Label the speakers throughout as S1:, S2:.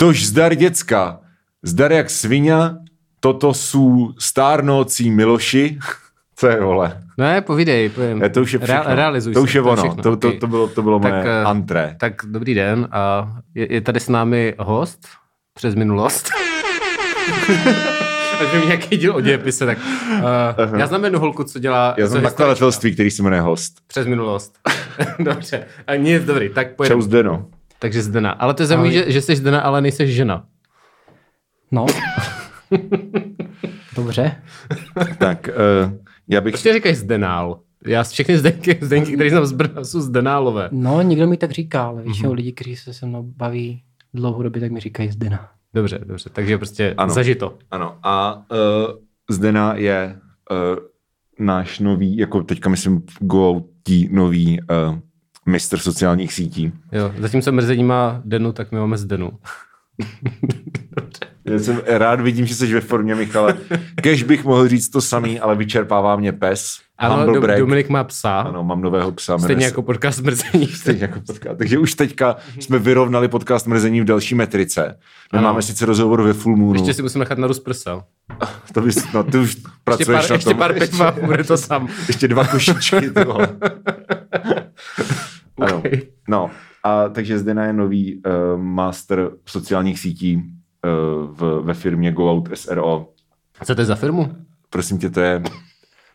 S1: Tož zdar děcka, zdar jak svině, toto jsou stárnoucí Miloši. Co je, vole?
S2: No, Ne, povídej. Povím.
S1: Ne, to už je všechno.
S2: Rea- realizuj
S1: to
S2: se,
S1: už je
S2: to je
S1: ono.
S2: všechno,
S1: To, to,
S2: okej.
S1: to, bylo, to bylo
S2: Tak,
S1: moje
S2: eh,
S1: antré.
S2: Tak dobrý den. A je, je tady s námi host přes minulost. Až mi nějaký díl o dějepise, tak uh, já znám jednu holku, co dělá
S1: Já
S2: co
S1: jsem
S2: je
S1: nakladatelství, který se jmenuje host.
S2: přes minulost. Dobře, a nic, dobrý, tak
S1: Čau
S2: pojedeme.
S1: Zdeno.
S2: Takže Zdena. Ale to je zajímavé, že, že jsi Zdena, ale nejseš žena.
S3: No. Dobře.
S1: Tak, uh, já bych...
S2: Proč tě říkají Zdenál? Já s- všechny Zdenky, Zdenky které znám z Brna, jsou Zdenálové.
S3: No, nikdo mi tak říká, ale
S2: Mhm.
S3: většinou lidi, kteří se se mnou baví dlouhodobě, tak mi říkají Zdena.
S2: Dobře, dobře, takže prostě
S1: Ano.
S2: ano. zažito.
S1: Ano, a uh, Zdena je uh, náš nový, jako teďka myslím v Goutí nový uh, mistr sociálních sítí.
S2: Jo, zatímco mrzení má Denu, tak my máme Zdenu.
S1: Já jsem rád vidím, že jsi ve formě, Michale. Kež bych mohl říct to samý, ale vyčerpává mě pes.
S2: Ano,
S1: Humble
S2: Do-
S1: break.
S2: Dominik má psa, ano,
S1: Ano, mám nového psa. jmenuje
S2: stejně
S1: se-
S2: jako podcast mrzení.
S1: Stejně jako podcast. Takže už teďka jsme vyrovnali podcast mrzení v další metrice. My
S2: Ano.
S1: máme sice rozhovor ve Full Moonu.
S2: Ještě si musím nechat na růst prsa.
S1: To bys, no, ty už
S2: Ještě
S1: pracuješ
S2: pár,
S1: na
S2: ještě
S1: tom.
S2: pár piva, bude to tam.
S1: ještě dva košičky. ty vole. ano.
S2: Okay.
S1: No, a takže zde je nový uh, master sociálních sítí uh, v, ve firmě Go Out SRO.
S2: Co to je za firmu?
S1: Prosím tě, to je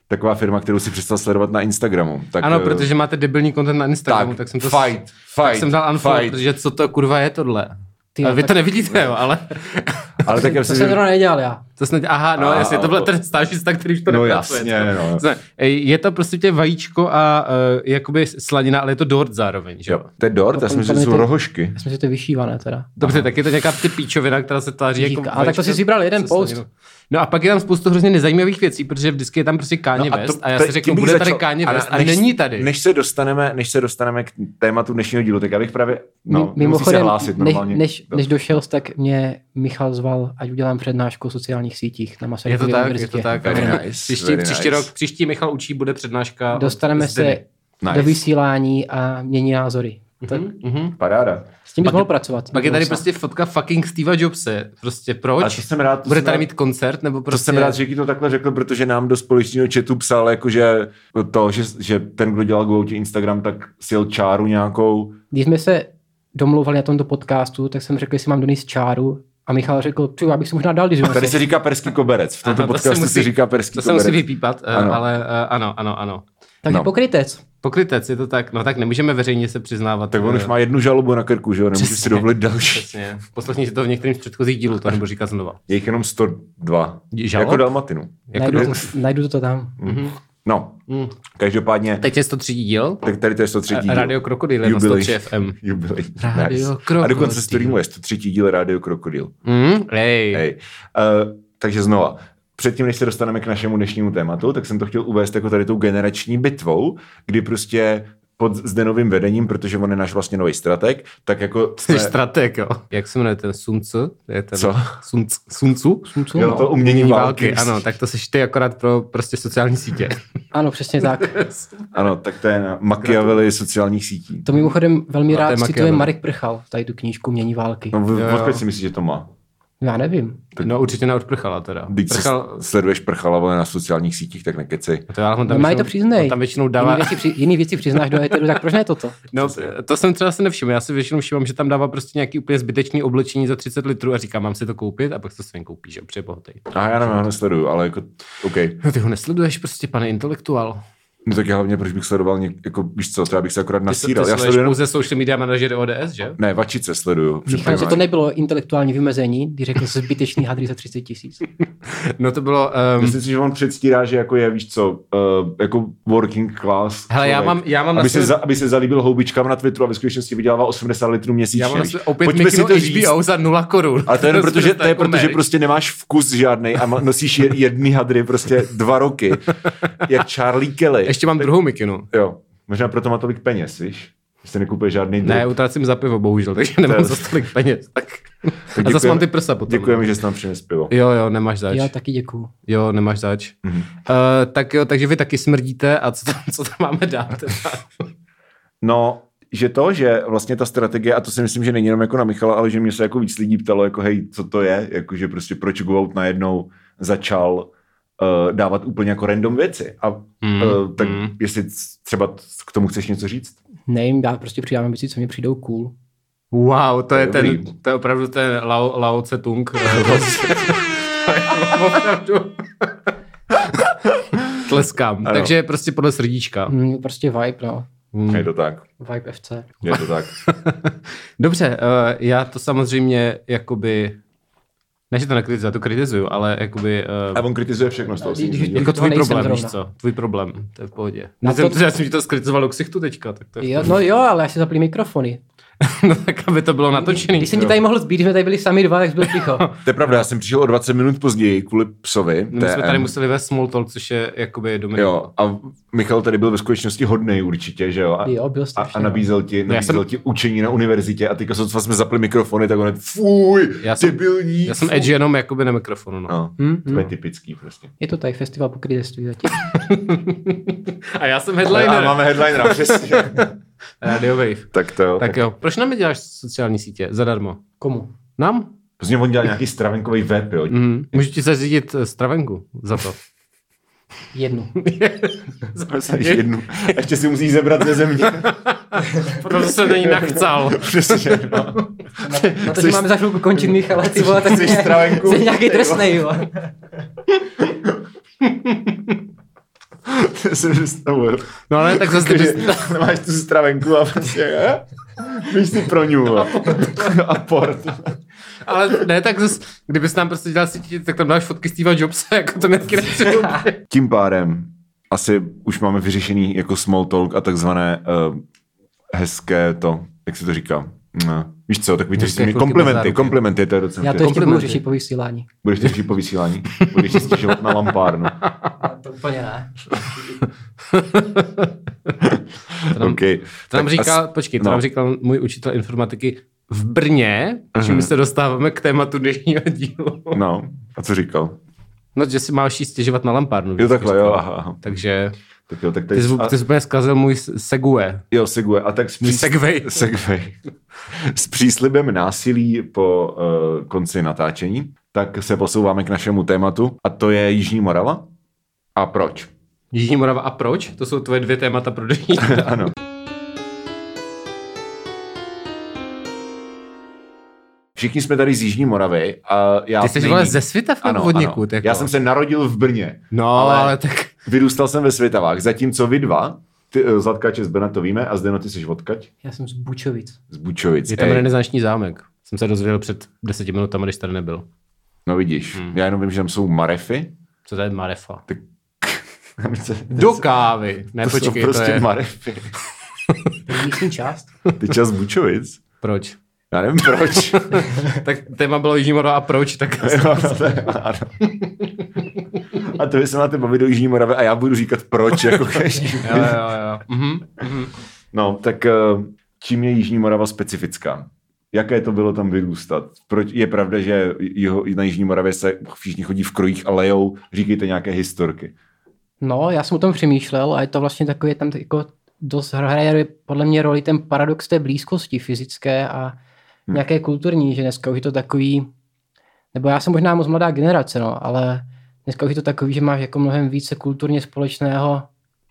S1: taková firma, kterou si přestal sledovat na Instagramu. Tak,
S2: ano,
S1: eh,
S2: protože máte debilní content na Instagramu, tak, tak jsem to...
S1: fight, fight,
S2: tak jsem dal unfollow,
S1: fight.
S2: protože co to kurva je tohle?
S3: Ty
S2: Ty,
S3: jo,
S2: Vy
S3: tak-
S2: to nevidíte, jo, ale...
S1: eh, Ale tak já
S3: to
S1: myslím,
S3: jsem
S1: že...
S3: zrovna nedělal já.
S2: To snad, aha, no
S1: A-
S2: jasně, tohle je ten stážista, který už to
S1: No
S2: nepracuje,
S1: jasně,
S2: co?
S1: no.
S2: Zna- Ej, Je to prostě tě vajíčko a uh, jakoby slanina, ale je to dort zároveň, že jo?
S1: Jo, to je dort, já
S3: To-
S1: jsem myslel,
S3: to-
S1: že
S3: to-
S1: jsou rohošky.
S3: Já jsem si to je vyšívané teda.
S2: Dobře, tak je to nějaká ty píčovina, která se tváří jako
S3: Díka. A tak to
S2: vajíčko
S3: jsi si vybral jeden
S2: se
S3: post.
S2: slaninou. No a pak je tam spoustu hrozně nezajímavých věcí, protože vždycky je tam prostě Kanye
S1: No
S2: no
S1: a
S2: West
S1: to-
S2: a, já
S1: to-
S2: si řeknu,
S1: tím bych
S2: bude
S1: začal.
S2: tady Kanye
S1: A
S2: West a,
S1: než-
S2: není tady.
S1: Než se, dostaneme, než se dostaneme k tématu dního dílu, tak já bych právě, no, musí se hlásit
S3: než,
S1: normálně.
S3: než,
S1: No.
S3: než došel, jsi, tak mě Michal zval, ať udělám přednášku o sociálních sítích na
S2: je to
S3: Masarykově
S2: tak, je to
S3: univerzitě.
S2: tak.
S1: Very
S2: ano.
S1: nice,
S2: příští,
S1: very
S2: příští
S1: nice.
S2: rok, příští Michal učí, bude přednáška. od
S3: Dostaneme se
S2: Zdeny.
S1: Nice.
S3: do vysílání a mění názory. Tak
S2: Mhm.
S1: Paráda.
S3: s tím
S2: Pak
S3: bych
S2: je-
S3: mohl pracovat.
S2: Pak je tady
S3: Budoucna.
S2: prostě fotka fucking Stevea Jobse. Prostě proč?
S1: Ale to jsem rád, to
S2: Bude
S1: jsem
S2: tady
S1: rád-
S2: mít koncert, nebo
S1: To
S2: prostě...
S1: jsem rád, že ti to takhle řekl, protože nám do společného chatu psal, jakože to, že, že ten, kdo dělal Gouti Instagram, tak si jel čáru nějakou.
S3: Když jsme se domlouvali na tomto podcastu, tak jsem řekl, jestli mám donést čáru a Michal řekl, "Ty, já bych si možná dal, když
S1: Tady
S3: donese."
S1: se říká perský koberec. V tomto
S2: Aha, to se
S1: podcastu se,
S2: musí-
S1: říká perský
S2: To se
S1: koberec.
S2: musí vypípat, eh,
S1: Ano.
S2: ale eh, ano, ano, ano.
S3: Takže
S1: No.
S3: pokrytec.
S2: Pokrytec, je to tak, no tak nemůžeme veřejně se přiznávat.
S1: Tak on
S2: eh,
S1: už má jednu žalobu na krku, že jo? Nemůže si
S2: Přesně.
S1: dovolit další.
S2: Přesně. Poslechni si to v některém z předchozích dílů, to nebudu říkat znova.
S1: Je jich jenom 102.
S2: Žalob?
S1: Jako Dalmatinu.
S2: Jako
S3: Najdu,
S2: do...
S3: to, najdu to tam.
S1: No,
S2: Mm.
S1: každopádně,
S2: Teď je 103 díl,
S1: tak tady to je 103. díl.
S2: Radio Krokodýl je na
S1: Jubilej.
S2: 103 FM.
S1: Jubilej.
S2: Radio
S1: A dokonce
S2: Krokodýl.
S1: streamuje 103. díl Radio Krokodýl.
S2: Mm, ej.
S1: Hej. Uh, takže znova. Předtím, než se dostaneme k našemu dnešnímu tématu, tak jsem to chtěl uvést jako tady tou generační bitvou, kdy prostě pod Zdenovým vedením, protože on je náš vlastně nový strateg, tak jako
S2: Jsi
S1: jsme,
S2: strateg, jo. Jak se jmenuje ten Suncu? Je ten
S1: Co?
S2: Sunc, suncu?
S3: Sluncu,
S1: jo,
S3: no.
S1: to umění války.
S2: Ano, tak to seš ty akorát pro prostě sociální sítě.
S3: Ano, přesně tak.
S1: ano, tak to je na Machiavelli sociálních sítí.
S3: To mimochodem velmi
S2: A to je
S3: rád cituje
S2: Machiavelli.
S3: Marek Prchal, tady tu knížku Mění války.
S1: No, v-
S2: Jo, jo.
S1: odkud si myslíš, že to má?
S3: Já nevím.
S2: No určitě neodprchala teda.
S1: Když
S2: Prchal,
S1: Prchal... sleduješ Prchala vole, na sociálních sítích, tak nekeci.
S2: to já, on tam,
S3: No, mají to
S2: většinou-
S3: přiznej.
S2: on tam většinou
S3: Jiný
S2: dává,
S3: věci, při, jiný věci přiznáš do éteru, tak proč ne toto?
S2: No, to jsem třeba si nevšiml. Já si většinou všimám, že tam dává prostě nějaký úplně zbytečný oblečení za 30 litrů a říká, mám si to koupit a pak to si koupí, že protože je bohatý.
S1: A já nevím, já ho nesleduju, ale jako, OK.
S2: No ty ho nesleduješ prostě, pane intelektuál.
S1: No tak já hlavně, proč bych sledoval něk, jako, víš co, třeba bych se akorát
S2: Ty, ty
S1: nasíral. Já
S2: sleduješ
S1: sleduju jenom,
S2: pouze social media manažery ODS, že?
S1: ne, vačice sleduju.
S3: Michal, co to nebylo intelektuální vymezení, kdy řekl zbytečný hadry za 30 tisíc.
S2: No to bylo... Um,
S1: Myslím si, že on předstírá, že jako je, víš co, uh, jako working class.
S2: Hele, já
S1: člověk.
S2: mám- já mám na
S1: aby, se
S2: sebe-
S1: za, aby se zalíbil houbičkám na Twitteru a ve skutečnosti vydělává 80 litrů měsíčně.
S2: já mám
S1: víš.
S2: zase opět
S1: Pojďme
S2: mikinu
S1: si to říct.
S2: HBO za 0 korun.
S1: Ale to je jenom proto, že, to je
S2: jako
S1: proto, že
S2: merch.
S1: prostě nemáš vkus žádný a ma- nosíš je- jedný hadry prostě dva roky. jak Charlie Kelly.
S2: Ještě mám druhou mikinu.
S1: Jo, možná proto má tolik peněz, víš? Že si nekupuje žádný
S2: Ne,
S1: druh.
S2: utrácím za pivo, bohužel, takže nemám
S1: To je-
S2: za tolik peněz. Tak.
S1: Tak
S2: A zase
S1: děkujeme-
S2: mám ty prsa potom. no.
S1: Děkujeme, že jsi nám přines pivo.
S2: Jo, jo, nemáš zač.
S3: Já taky děkuju.
S2: Jo, nemáš zač. Mm-hmm.
S1: Mhm.
S2: Uh, tak jo, takže vy taky smrdíte a co tam, co tam máme dát? teda?
S1: No, že to, že vlastně ta strategie, a to si myslím, že není jenom jako na Michala, ale že mě se jako víc lidí ptalo, jako hej, co to je, jako že prostě proč Goat najednou začal uh, dávat úplně jako random věci. A
S2: Mm,
S1: uh, tak
S2: mm.
S1: jestli třeba k tomu chceš něco říct?
S3: Nevím, já prostě přidám věci, co mi přijdou cool.
S2: Wow, to je,
S1: Dobrý.
S2: ten, to je opravdu ten Lao, Lao Tse Tung. To je opravdu. Tleskám.
S1: Ano.
S2: Takže prostě podle srdíčka.
S3: Mm, prostě vibe, no.
S2: Hmm.
S1: Je to tak.
S3: Vibe FC.
S1: Je to tak.
S2: Dobře, eh, já to samozřejmě jakoby, ne, že to nekritizuju, já to kritizuju, ale jakoby, eh,
S1: A on kritizuje všechno z toho. si myslím, že-
S2: jako
S3: toho
S2: tvůj
S3: nejsem
S2: problém, víš
S3: zrovna.
S2: co? Tvůj problém, to je v pohodě.
S3: Na
S2: Já jsem,
S3: to-
S2: já jsem ti to skritizoval do ksichtu teďka, tak to je,
S3: Jo, no jo, ale já si zapli mikrofony.
S2: no tak aby to bylo natočený.
S3: Když jsem ti tady mohl zbít, když jsme tady byli sami dva, tak jsi byl ticho.
S1: To je pravda, já jsem přišel o 20 minut později kvůli psovi.
S2: My jsme
S1: TM.
S2: tady museli vést small talk, což je jakoby Dominik.
S1: Jo, a Michal tady byl ve skutečnosti hodnej určitě, že jo? A,
S3: Jo, byl
S1: a,
S3: strašně,
S1: a
S3: no.
S1: nabízel ti,
S2: No já
S1: nabízel
S2: jsem-
S1: ti učení na univerzitě a teďka sotva jsme zapli mikrofony, tak on je fuj,
S2: Já jsem-
S1: debilní.
S2: Já jsem
S1: fuj."
S2: edgy jenom jakoby na mikrofonu, no.
S1: No,
S3: Hm,
S1: to je
S3: hm.
S1: typický prostě.
S3: Je to tady festival pokrytectví zatím.
S2: A já jsem
S1: A
S2: headliner.
S1: máme headlinera, přesně.
S2: Radio Wave.
S1: tak to jo.
S2: Tak jo, proč nám neděláš sociální sítě zadarmo?
S3: Komu?
S2: Nám?
S1: Pozdě on dělal nějaký stravenkový web, jo.
S2: Mm. Můžu ti zařídit eh, stravenku za to.
S3: Jednu.
S1: Ještě jednu. A Ještě si musíš zebrat ze země.
S2: Proto se není nachcal.
S1: Přesně, no.
S3: Na to, že
S1: Chceš-
S3: máme za chvilku končit, Michala, ty vole, tak
S1: Chceš
S3: mě-
S1: stravenku?
S3: jsi nějaký
S1: Ty vole.
S3: drsnej, jo.
S1: To jsem představil.
S2: No ale tak zase,
S1: Takže
S2: kdyby,
S1: máš tu stravenku a prostě, eh? Víš si pro ňu. vole. A port.
S2: ale ne, tak zase, kdybys nám prostě dělal sítě, tak tam dáš fotky Steva Jobsa, jako to nějaký nepřijde.
S1: Tím pádem asi už máme vyřešený jako small talk a takzvané uh, hezké to, jak se to říká. No. Víš co, tak víte,
S2: Hezké
S1: že mě
S2: chvilky bez
S1: komplimenty,
S2: záruky.
S1: komplimenty, to je docela.
S3: Já to ještě budu
S2: Komplimenty.
S3: řešit po vysílání.
S1: Budeš to řešit po vysílání, budeš si stěžovat na lampárnu.
S3: To úplně ne.
S2: To nám,
S1: Okay.
S2: to nám
S1: Tak
S2: říkal,
S1: as-
S2: počkej, to
S1: no.
S2: nám říkal můj učitel informatiky v Brně,
S1: Mhm.
S2: čím se dostáváme k tématu dnešního dílu.
S1: No, a co říkal?
S2: No, že si máš jí stěžovat na lampárnu.
S1: Jo,
S2: víš,
S1: takhle,
S2: říkal.
S1: jo, aha, aha.
S2: Takže
S1: Tak jo, tak
S2: ty
S1: tady,
S2: jsi,
S1: a,
S2: ty jsi úplně zkazil můj s- segue.
S1: jo, segue. A tak s,
S2: Můj segway.
S1: segway. s příslibem násilí po uh, konci natáčení, tak se posouváme k našemu tématu a to je Jižní Morava. A proč?
S2: Jižní Morava a proč? To jsou tvoje dvě témata pro dnešní.
S1: ano. Všichni jsme tady z Jižní Moravy a já...
S2: Ty jsi
S1: nejmíň-
S2: vole ze Svitav nebo od někud? Jako?
S1: Já jsem se narodil v Brně.
S2: No,
S1: ale-
S2: ale, ale tak...
S1: Vyrůstal jsem ve Světavách, zatímco vy dva, ty, eh, Zlatka je z Brna, to víme, a Zdeno, ty jsi odkaď?
S3: Já jsem z Bučovic.
S1: Z Bučovic.
S2: Je tam
S1: Ej,
S2: renesanční zámek. Jsem se dozvěděl před deseti minutami, když tady nebyl.
S1: No vidíš, hmm. já jenom vím, že tam jsou marefy.
S2: Co to je Marefa?
S1: Do
S2: Do kávy! Ne,
S1: to
S2: počkej,
S1: jsou prostě
S2: to je...
S1: marefy.
S3: To je místní část.
S1: Ty čas Bučovic?
S2: Proč?
S1: Já nevím proč.
S2: Tak téma bylo Jižní Morava a proč, tak...
S1: Jo, no, to je- ano. A to by se máte bavit do Jižní Moravy a já budu říkat proč. Jako každý.
S2: jo, jo, jo. Mhm, mhm.
S1: no, tak eh, čím je Jižní Morava specifická? Jaké to bylo tam vyrůstat? Proč je pravda, že jeho, na Jižní Moravě se všichni chodí v krojích a lejou, říkejte nějaké historky.
S3: No, já jsem o tom přemýšlel a je to vlastně takový, je tam tak jako dost hraje podle mě roli ten paradox té blízkosti fyzické a
S2: Hmm.
S3: nějaké kulturní, že dneska už je to takový, nebo já jsem možná moc mladá generace, no, ale dneska už je to takový, že máš jako mnohem více kulturně společného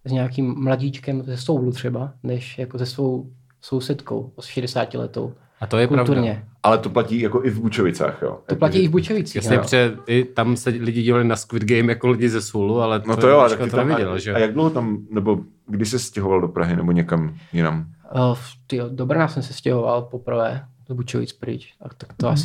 S3: s nějakým mladíčkem ze soulu třeba, než jako se svou sousedkou, 60 letou,
S2: A to je pravda.
S3: kulturně.
S1: Ale to platí jako i v Bučovicách, jo?
S3: To platí i v Bučovicích.
S2: Jasně,
S3: no.
S2: protože i tam se lidi dívali na Squid Game jako lidi ze Sulu, ale
S1: No to jo, ale
S2: Jožka
S1: tak ty
S2: to
S1: tam,
S2: neviděl,
S1: a,
S2: že?
S1: a jak dlouho tam, nebo kdy se stěhoval do Prahy, nebo někam jinam?
S3: Uh, tyjo, do Brna jsem se stěhoval poprvé, do Bučovic pryč. A tak to asi...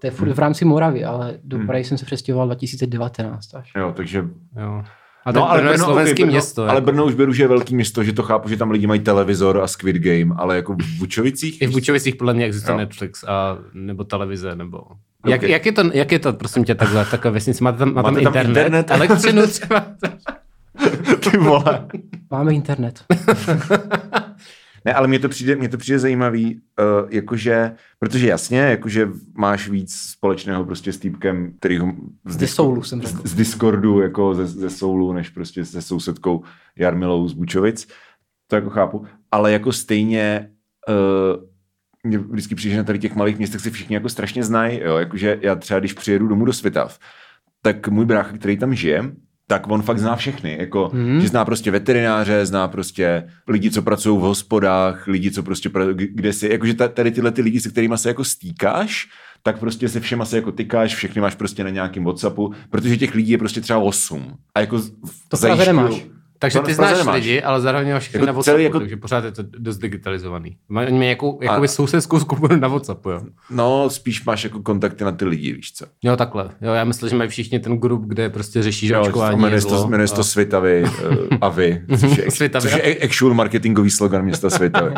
S3: To je furt v rámci Moravy, ale do
S1: Hmm.
S3: Prahy jsem se přestěhoval 2019 až.
S1: Jo, takže...
S2: Jo. A tak no, Brno je
S1: Brno,
S2: slovenský
S1: okej, Brno,
S2: město. jako.
S1: Ale Brno už beru, že je velký město, že to chápu, že tam lidi mají televizor a Squid Game, ale jako v Bučovicích?
S2: I v Bučovicích podle mě existuje
S1: Jo.
S2: jo. Netflix a, nebo televize, nebo...
S1: Okay.
S2: Jak, jak, je to, jak je to, prosím tě, takhle, takhle vesnice? Máte tam, má tam,
S1: Máte tam
S2: internet,
S1: internet?
S2: elektřinu třeba?
S1: Ty vole.
S3: Máme internet.
S1: Ne, ale mně to přijde, mně to přijde zajímavý, uh, jakože, protože jasně, jakože máš víc společného prostě s týpkem, který ho z,
S3: Ze Soulu jsem řekl.
S1: z, z Discordu, jako ze, ze Soulu, než prostě se sousedkou Jarmilou z Bučovic. To jako chápu. ale jako stejně uh, mě vždycky přijde, že na tady těch malých městech se všichni jako strašně znají, jo, jakože já třeba, když přijedu domů do Svitav, tak můj brácha, který tam žije, tak on fakt zná všechny, jako,
S3: Mhm.
S1: mm. že zná prostě veterináře, zná prostě lidi, co pracují v hospodách, lidi, co prostě, pra- kde si, jakože ta- tady tyhle ty lidi, se kterými se jako stýkáš, tak prostě se všema se jako tykáš, všechny máš prostě na nějakém Whatsappu, protože těch lidí je prostě třeba 8. A jako z-
S3: To v Praze
S1: zajišťujou-
S3: nemáš.
S2: Takže
S1: To
S2: ty
S1: v Praze
S2: znáš
S1: nemáš.
S2: lidi, ale zároveň máš všechny
S1: Jako
S2: na
S1: celý
S2: WhatsAppu,
S1: jako-
S2: takže pořád je to dost digitalizovaný. Má- Oni mají jakou, jakoby sousedskou skupinu na WhatsAppu, jo.
S1: No, spíš máš jako kontakty na ty lidi, víš co.
S2: Jo, takhle. Jo, já myslím, že mají všichni ten grup, kde prostě řešíš
S1: Jo,
S2: očkování.
S1: jmenuje se to,
S2: jídlo.
S1: jmenuje se to
S2: A-
S1: Svitavy eh, a vy, což je,
S2: Svitavy
S1: což
S2: a-
S1: je actual marketingový slogan města Svitavy.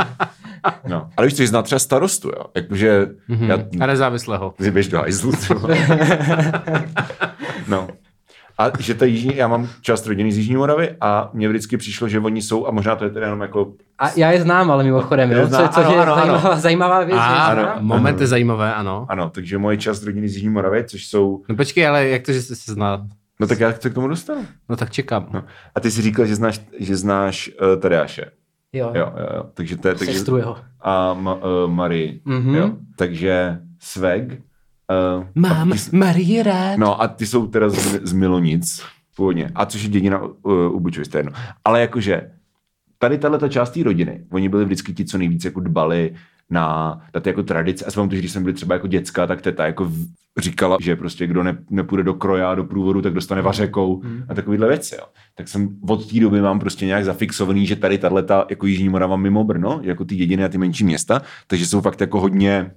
S1: No. Ale víš, což zná třeba starostu, jo. Jakože já,
S2: Mhm. A nezávislého.
S1: ty běž do hajzlu, třeba. No. A že ta jižní, já mám část rodiny z Jižní Moravy a mně vždycky přišlo, že oni jsou, a možná to je teda jenom jako
S3: A já je znám, ale mimochodem,
S1: Je
S3: jo? Co,
S1: znám,
S3: což
S1: ano,
S3: je
S1: ano, ano.
S3: zajímavá, zajímavá věc. že je
S2: A
S3: znám.
S1: ano.
S2: moment je zajímavé, ano.
S1: Ano, takže moje část rodiny z Jižní Moravy, což jsou...
S2: No počkej, ale jak to, že jsi se zná?
S1: No tak já se k tomu dostanu.
S2: No tak čekám.
S1: No. A ty jsi říkal, že znáš, že znáš uh, Tadeáše.
S3: Jo,
S1: Jo, jo, jo. Takže to je... Takže...
S3: sestru jeho.
S1: A ma, uh, Marii.
S3: Mhm.
S1: Jo. Takže Sveg. Uh,
S2: Mám Marie rád.
S1: no a ty jsou teda z, z Milonic původně. A což je dědina uh, u Bučovic, to je jedno. Ale jakože tady tahle část té rodiny, oni byli vždycky ti, co nejvíc jako dbali na, na ty jako tradice. A to, že když jsem byl třeba jako děcka, tak teta jako v- říkala, že prostě kdo ne, nepůjde do kroja, do průvodu, tak dostane vařekou a takovéhle věci. Jo. Tak jsem od té doby mám prostě nějak zafixovaný, že tady tahle jako Jižní Morava mimo Brno, jako ty jediné a ty menší města, takže jsou fakt jako hodně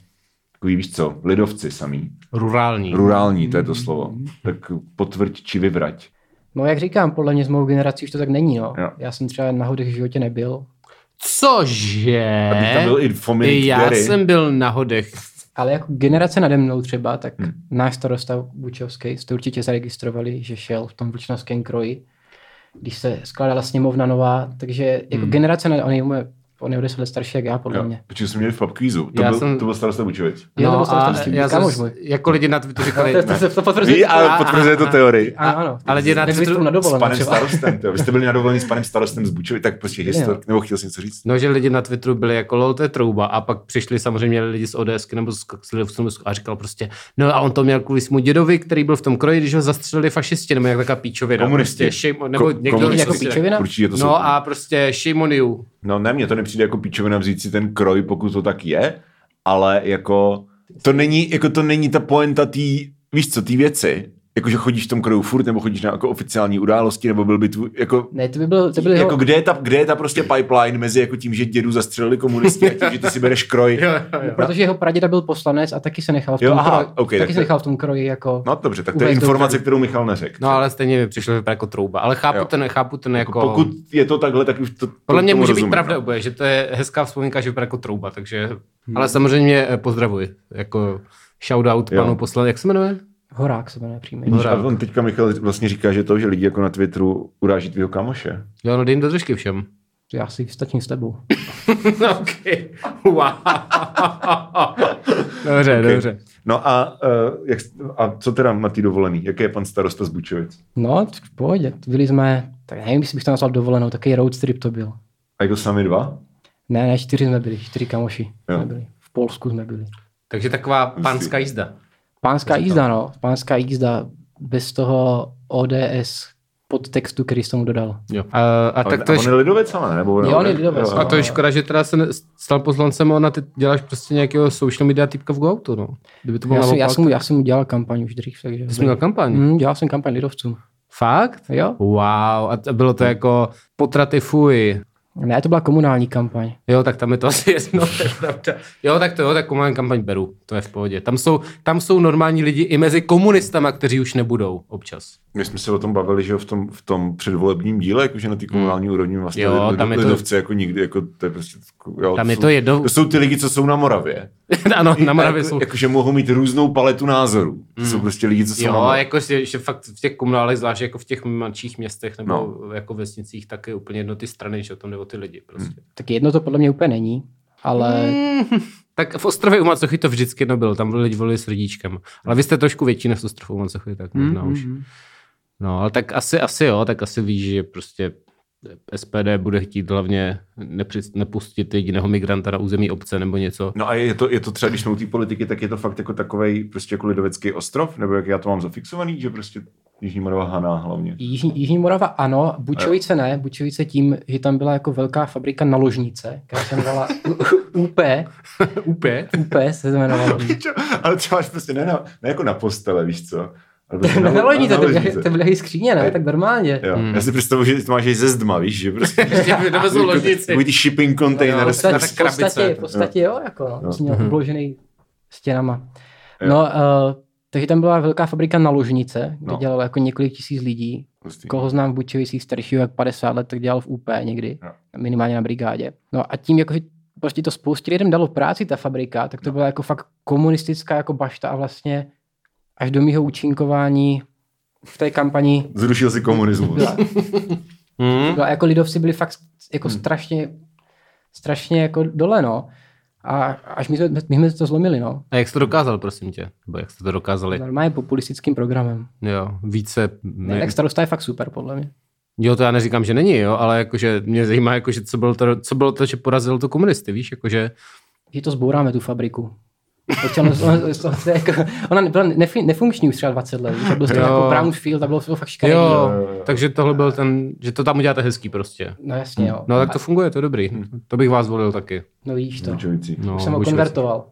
S1: takový, víš co, lidovci samý.
S2: Rurální.
S1: Rurální, to je to slovo. Tak potvrď či vyvrať.
S3: No jak říkám, podle mě s mou generací už to tak není, no.
S1: Jo.
S3: Já jsem třeba na hodech v životě nebyl,
S2: Cože?
S1: A teď tam byl i Fomin
S2: I já
S1: Derry.
S2: jsem byl na hodech.
S3: ale jako generace nade mnou třeba, tak hmm. náš starosta Bučovský jste určitě zaregistrovali, že šel v tom vlčnovském kroji, když se skládala sněmovna nová, takže jako hmm. generace nade on je, moje- on je o 10 let starší jak já, podle
S1: Jo,
S3: mě.
S1: Protože jsme měli v PubQuizu. To,
S2: Já
S1: byl,
S2: jsem-
S1: to byl starosta Bučovic.
S3: Jo, to byl
S2: No
S3: starosta
S2: a
S3: s tím,
S2: já jsem,
S3: kámoš můj.
S2: jako lidi na Twitteru říkali,
S3: To, to, se- to potvrzuje.
S1: Ví, ale potvrzuje to teorii.
S3: Ano, ano.
S2: Ale jde na
S3: Nebyli
S2: Twitteru-
S3: spolu na
S1: S
S3: dovolené
S1: panem
S3: třeba.
S1: starostem, to. Vy jste byli na dovolení s panem starostem z Bučovic, tak prostě
S3: Jo.
S1: historik, nebo chtěl jsem něco říct.
S2: No, že lidi na Twitteru byli jako lol, to je trouba. A pak přišli samozřejmě lidi z ODSky nebo z z lidovců a říkal prostě, no a on to měl kvůli svému dědovi, který byl v tom kroji, když ho zastřelili fašisti, nebo jak taková píčovina.
S1: Komunisti.
S2: Prostě, shame, nebo
S1: Ko-
S2: někdo
S1: komunisti.
S3: Jako
S2: prostě-
S3: píčovina?
S1: Určitě to jsou.
S2: No a prostě shame on you.
S1: No ne, mně to nepřijde jako píčovina vzít si ten kroj, pokud to tak je, ale jako to není, jako to není ta poenta tý, víš co, tý věci. Jakože chodíš v tom kroju furt, nebo chodíš na jako oficiální události, nebo byl by tvůj, jako
S3: Ne, to by bylo, to by bylo
S1: jako kde, je ta, kde je ta prostě pipeline mezi jako tím, že dědu zastřelili komunisti a tím, že ty si bereš kroj.
S2: Jo, jo, jo.
S3: Protože jeho praděda byl poslanec a taky se nechal v tom,
S1: Jo, aha,
S3: kroji,
S1: ok, tak
S3: taky se
S1: to-
S3: nechal v tom kroji jako...
S1: No dobře, tak to je
S3: Vůbec dobře.
S1: informace, kterou Michal neřekl.
S2: No ale stejně mi přišlo vypadat jako trouba. Ale chápu
S1: Jo.
S2: ten, chápu ten jako...
S1: Pokud je to takhle, tak už to
S2: Podle mě
S1: tomu
S2: může
S1: rozumím,
S2: být pravda
S1: no. Hmm.
S2: oboje, že to je hezká vzpomínka, že vypadá jako trouba, takže... Ale samozřejmě eh, pozdravuji, jako shoutout
S1: Jo.
S2: panu poslanci, jak se jmenuje?
S3: Horák se jmenuje příjmení.
S1: Vidíš, a on teďka Michal vlastně říká, že to, že lidi jako na Twitteru uráží tvýho kamoše.
S2: Jo, no dej jim do držky všem.
S3: Já si stačím s tebou.
S2: No, OK. Wow. dobře, okay.
S1: Okay.
S2: dobře.
S1: No a, uh, jak, a co teda na ty dovolený? Jaký je pan starosta z Bučovic?
S3: No, tak v pohodě. Byli jsme, tak nevím, jestli bych to nazval dovolenou, takový road trip to byl.
S1: A jako sami dva?
S3: Ne, ne, čtyři jsme byli, čtyři kamoši
S1: Jo.
S3: jsme byli. V Polsku jsme byli.
S2: Takže taková pánská jízda.
S3: Pánská jízda, no. Pánská jízda bez toho ODS podtextu, který jsi tomu dodal.
S2: Jo. A, a tak to
S1: a
S2: je,
S1: on je
S2: šk-
S1: lidovec, ale nebo?
S3: Jo,
S1: nebo-
S3: on je lidovec,
S1: jo,
S2: a to je no.
S1: jo.
S2: škoda, že teda se ne- stal poslancem a ona ty děláš prostě nějakého social media typka v Goautu, no. Kdyby to bylo
S3: Já jsem, já,
S2: naopak,
S3: jsem, mu- já jsem mu dělal kampaň už dřív, takže...
S2: ty jsi měl kampaň.
S3: Mm, dělal jsem kampaň lidovcům.
S2: Fakt?
S3: Jo?
S2: Wow, a t- bylo
S1: Hmm.
S2: to jako potraty fuj.
S3: Ne, to byla komunální kampaň.
S2: Jo, tak tam je to asi jedno, to je pravda. Jo, tak to jo, tak komunální kampaň beru, to je v pohodě. Tam jsou, tam jsou normální lidi i mezi komunistama, kteří už nebudou občas.
S1: My jsme se o tom bavili, že jo, v tom, v tom předvolebním díle, jakože na té komunální úrovni vlastně
S2: Hmm. Jo,
S1: jo,
S2: tam je to-
S1: lidovci jako nikdy, jako to je prostě... Jo,
S2: Tam je
S1: jsou-
S2: to jedno-
S1: To jsou ty lidi, co jsou na Moravě.
S2: ano, na Moravě
S1: jako,
S2: jsou. Hmm.
S1: Jakože mohou mít různou paletu názorů. To jsou prostě lidi, co jsou na
S2: Jo,
S1: Moravě.
S2: jako že, že fakt v těch komunálech, zvlášť jako v těch mladších městech nebo no. jako vesnicích, tak je úplně jedno ty strany, že o tom jde o ty lidi prostě.
S3: Tak jedno to podle mě úplně není, ale...
S2: Mm. Tak v Ostrově u Macochy to vždycky jedno bylo, tam lidi volili s rodíčkem. Ale vy jste trošku větší než v
S3: Mhm. Hmm,
S2: No, Ostrově u Macochy, tak možná už. No, ale tak asi, asi jo, tak asi víš, že prostě SPD bude chtít hlavně nepři- nepustit jediného migranta na území obce nebo něco.
S1: No a je to, je to třeba, když jsme u té politiky, tak je to fakt jako takový prostě jako lidovecký ostrov, nebo jak já to mám zafixovaný, že prostě Jižní Morava Haná hlavně.
S3: Jižní, Jižní Morava ano, Bučovice ne, Bučovice tím, že tam byla jako velká fabrika na ložnice, která se jmenovala UP,
S2: Úplně.
S3: UP se jmenovala.
S1: Čo? Ale třeba až prostě ne, na, ne jako na postele, víš co? Ale prostě
S3: Na ložnice, to
S1: ložnice.
S3: byly- to byly i skříně, ne, tak normálně.
S1: Jo.
S2: Hmm.
S1: Já si představuji, že to máš i ze zdma, víš, že prostě.
S2: Ještě dovezou ložnici.
S1: Takový ty shipping
S2: No,
S1: container. prostě-
S2: jo,
S1: s-
S2: tak-
S3: podstatě,
S2: tak
S3: v
S2: krabice.
S3: podstatě, v podstatě jo, jako no,
S1: Jo.
S3: jsi měl
S2: Mhm.
S3: obložený stěnama.
S1: Jo.
S3: No, uh, takže tam byla velká fabrika na ložnice, kde
S1: No.
S3: dělalo jako několik tisíc lidí.
S1: Hustý.
S3: Koho znám v Bučevicích staršího jak 50 let, tak dělal v UP někdy,
S1: Jo.
S3: minimálně na brigádě. No a tím, jako, že prostě to spoustě lidem dalo práci ta fabrika, tak to
S1: No.
S3: byla jako fakt komunistická jako bašta a vlastně až do mýho účinkování v té kampani
S1: Zrušil si komunismus.
S3: byla.
S2: Hmm?
S3: No, jako lidovci byli fakt jako
S2: Mm.
S1: Hmm.
S3: hmm. strašně, strašně jako dole, no. A až my jsme, my jsme to zlomili, no.
S2: A jak jste to dokázal, prosím tě? Nebo jak jste to dokázali?
S3: Normálně populistickým programem.
S2: Jo, více...
S3: Ne. Tak starosta je fakt super, podle mě.
S2: Jo, to já neříkám, že není, jo, ale jakože mě zajímá, jakože co bylo to, co bylo to že porazilo to komunisty, víš, jakože...
S3: Že to zbouráme, tu fabriku. Protože Ona, ona, ona, se jako, ona byla nef, nefunkční už třeba 20 let, víš, a byl to
S2: Jo.
S3: jako brown field a bylo to fakt škaredý.
S2: Jo,
S1: jo, jo.
S2: takže tohle byl ten, že to tam uděláte hezký prostě.
S3: No jasně, jo.
S2: No tak to funguje, to je dobrý. To bych vás volil taky.
S3: No vidíš to.
S1: Bučovicí.
S2: No,
S3: Už jsem ho
S2: Bučovice.
S3: konvertoval.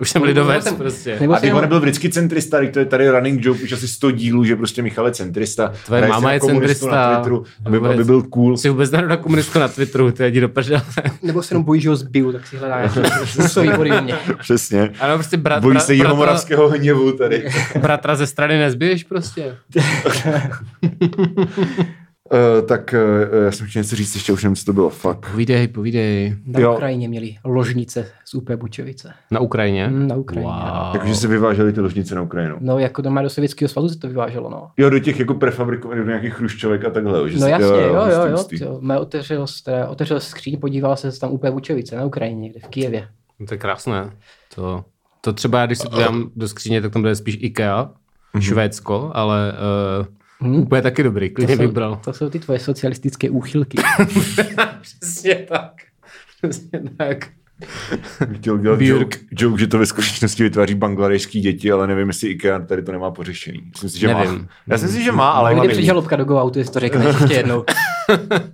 S2: Už jsem lidovec prostě.
S3: Nebo
S1: A ty
S3: jsem,
S1: on byl vždycky centrista, teď to je tady running joke už asi 100 dílů, že prostě Michal je centrista.
S2: Tvoje
S1: hraje si
S2: máma
S1: na
S2: je
S1: komunistu
S2: centrista.
S1: Na Twitteru, aby,
S2: Vůbec.
S1: aby, byl cool.
S2: Si vůbec nedal na komunistu na Twitteru, to je jdi do prdele.
S3: nebo se jenom bojí, že ho zbiju, tak si hledá nějaký způsobí ode mě.
S1: Přesně.
S2: Ano, prostě brat,
S1: Bojí
S2: bra-
S1: se
S2: bratra,
S1: jeho moravského hněvu tady.
S2: bratra ze strany nezbiješ prostě.
S1: Eh, tak eh, já jsem chtěl něco říct, ještě už nevím, co to bylo. Fuck.
S2: Povídej, povídej.
S3: Na
S1: Jo.
S3: Ukrajině měli ložnice z UP Bučovice.
S2: Mm, Na Ukrajině? no.
S3: Hm, Na Ukrajině. ano.
S2: Wow.
S1: Jakože se vyvážely ty ložnice na Ukrajinu.
S3: No, jako doma do Sovětského svazu se to vyváželo, no.
S1: Jo, do těch jako prefabrikovaných, do nějakých chruščovek a takhle. jo, Že
S3: No
S1: se-
S3: jasně, jo, jo, jo.
S1: hustý,
S3: jo,
S1: hustý.
S3: jo. Mé otevřel, se teda, otevřel skříň, podíval se se tam úplně Vučovice na Ukrajině, někde v Kijevě.
S2: No To je krásné. To, to třeba, já, když si to dám do skříně, tak tam bude spíš IKEA,
S1: Mhm.
S2: mm-hmm. Švédsko, ale uh,
S3: Hm.
S2: úplně taky dobrý, klidně
S3: To
S2: bych
S3: jsou,
S2: bral.
S3: to jsou ty tvoje socialistické úchylky.
S2: Přesně tak. Přesně tak.
S1: Chtěl dělat
S2: Björk.
S1: joke, joke, že to ve skutečnosti vytváří bangladešský děti, ale nevím, jestli IKEA tady to nemá pořešený. Myslím si, že
S2: Nevím.
S1: má. Já si myslím, že má, ale
S3: Kdy
S1: hlavně
S3: přijde žalobka do Go-Outu, jestli to řekneš ještě jednou.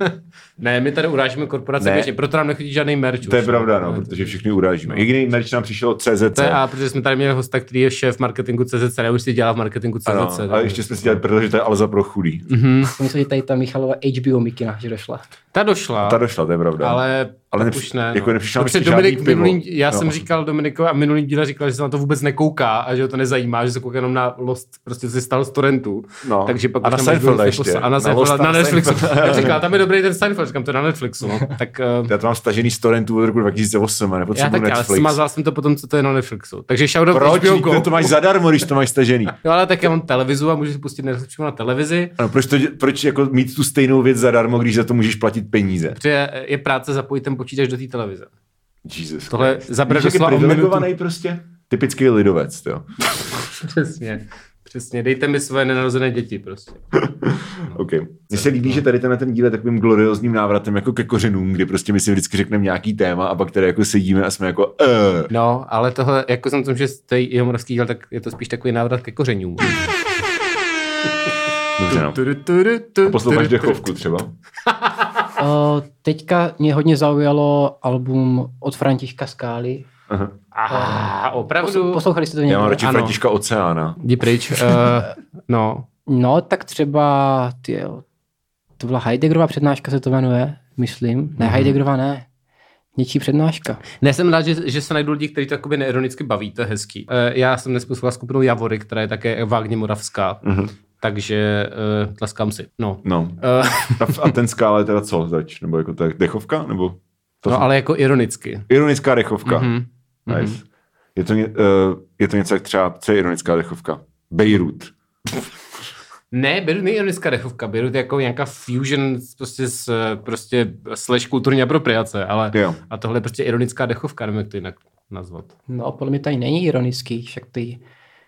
S2: Ne, my tady urážíme korporace
S1: Ne.
S2: běžně, proto nám nechodí žádný merch.
S1: To je
S2: už.
S1: pravda, no, protože všechny urážíme. Jediný merch nám přišel od CZC.
S2: To je, a protože jsme tady měli hosta, který je šéf marketingu CZC, ne, už si dělá v marketingu CZC.
S1: Ano, no, a
S2: takže-
S1: ještě jsme si dělali, protože to je Alza pro chudý.
S2: Mhm.
S3: Myslím, že tady ta Michalova HBO mikina, že došla.
S2: Ta došla.
S1: Ta došla, to je pravda.
S2: Ale,
S1: Ale
S2: tak
S1: nepři-
S2: už ne.
S1: jako nepřišel nám
S2: Dobře,
S1: ještě
S2: Dominik,
S1: žádný pivo.
S2: minulý, já
S1: No.
S2: jsem říkal Dominikovi a minulý díle říkal, že se na to vůbec nekouká a že ho to nezajímá, že se kouká jenom na Lost, prostě se stal z torrentu.
S1: No.
S2: Takže pak
S1: A
S2: už
S1: na
S2: tam
S1: Seinfelda
S2: budou-
S1: ještě.
S2: A na,
S1: Na
S2: Seinfelda,
S1: Lost a
S2: na,
S1: na
S2: Netflixu.
S1: Seinfelda.
S2: Já říkal, tam je dobrý ten Seinfeld, říkám to je na Netflixu. No. Tak eh,
S1: Já to mám stažený z torrentů od roku 2008 a
S2: já
S1: nepotřebuji
S2: tak já
S1: Netflix.
S2: smazal jsem to potom, co to je na Netflixu. Takže shoutout
S1: Proč?
S2: HBO
S1: Vždyť
S2: Go.
S1: To, to máš zadarmo, když to máš stažený.
S2: No ale tak já mám televizu a můžu si pustit Netflix přímo na televizi.
S1: Ano, proč, to, dě- proč jako mít tu stejnou věc zadarmo, když za to můžeš platit peníze?
S2: Protože je- je práce zapojit ten počítač do té televize.
S1: Jesus.
S2: Tohle
S1: Christ.
S2: zabere
S1: Víš, jak je
S2: doslova o minutu.
S1: privilegovaný prostě? Typický lidovec, jo.
S2: Přesně. Přesně, dejte mi svoje nenarozené děti prostě.
S1: Okay. Mně se líbí, že tady tenhle ten díl je takovým gloriozním návratem jako ke kořenům, kdy prostě my si vždycky řekneme nějaký téma a pak tady jako sedíme a jsme jako eh.
S2: No, ale tohle, jako jsem tom, že to je jeho moravský díl, tak je to spíš takový návrat ke kořenům.
S1: Dobře, no.
S2: Tudu, tudu, tudu,
S1: Posloucháš
S2: tudu, tudu.
S1: dechovku třeba?
S3: Uh, teďka mě hodně zaujalo album od Františka Skály.
S1: Aha.
S2: Aha,
S3: Posl-
S2: opravdu.
S3: Poslouchali jste to
S1: Já mám
S3: někdo?
S1: radši
S2: Ano.
S1: Františka Oceána.
S2: Jdi pryč. Uh, no,
S3: No, tak třeba, ty, to byla Heideggerova přednáška, se to jmenuje, myslím. Ne, Heideggerova ne. Něčí přednáška.
S2: Ne, jsem rád, že, že se najdou lidi, kteří to jakoby neironicky baví, to je hezký. Eh, Já jsem dnes poslouchal skupinu Javory, která je také vágně moravská,
S1: Mhm.
S2: mm-hmm. takže uh, tleskám si. No.
S1: No.
S2: Uh,
S1: A- A ten skála je teda co zač? Nebo jako to je dechovka? Nebo to
S2: no, ale jako ironicky.
S1: Ironická dechovka.
S2: Mhm.
S1: Mm-hmm. Nice. Je to, ně, uh, je to něco jak třeba, co je ironická dechovka? Beirut.
S2: Ne, Beirut není ironická dechovka, Beirut je jako nějaká fusion s- prostě s eh, prostě slash kulturní apropriace, ale
S1: Jo.
S2: a tohle je prostě ironická dechovka, nevím, jak to jinak nazvat.
S3: No, podle mě tady není ironický, však ty...
S2: Je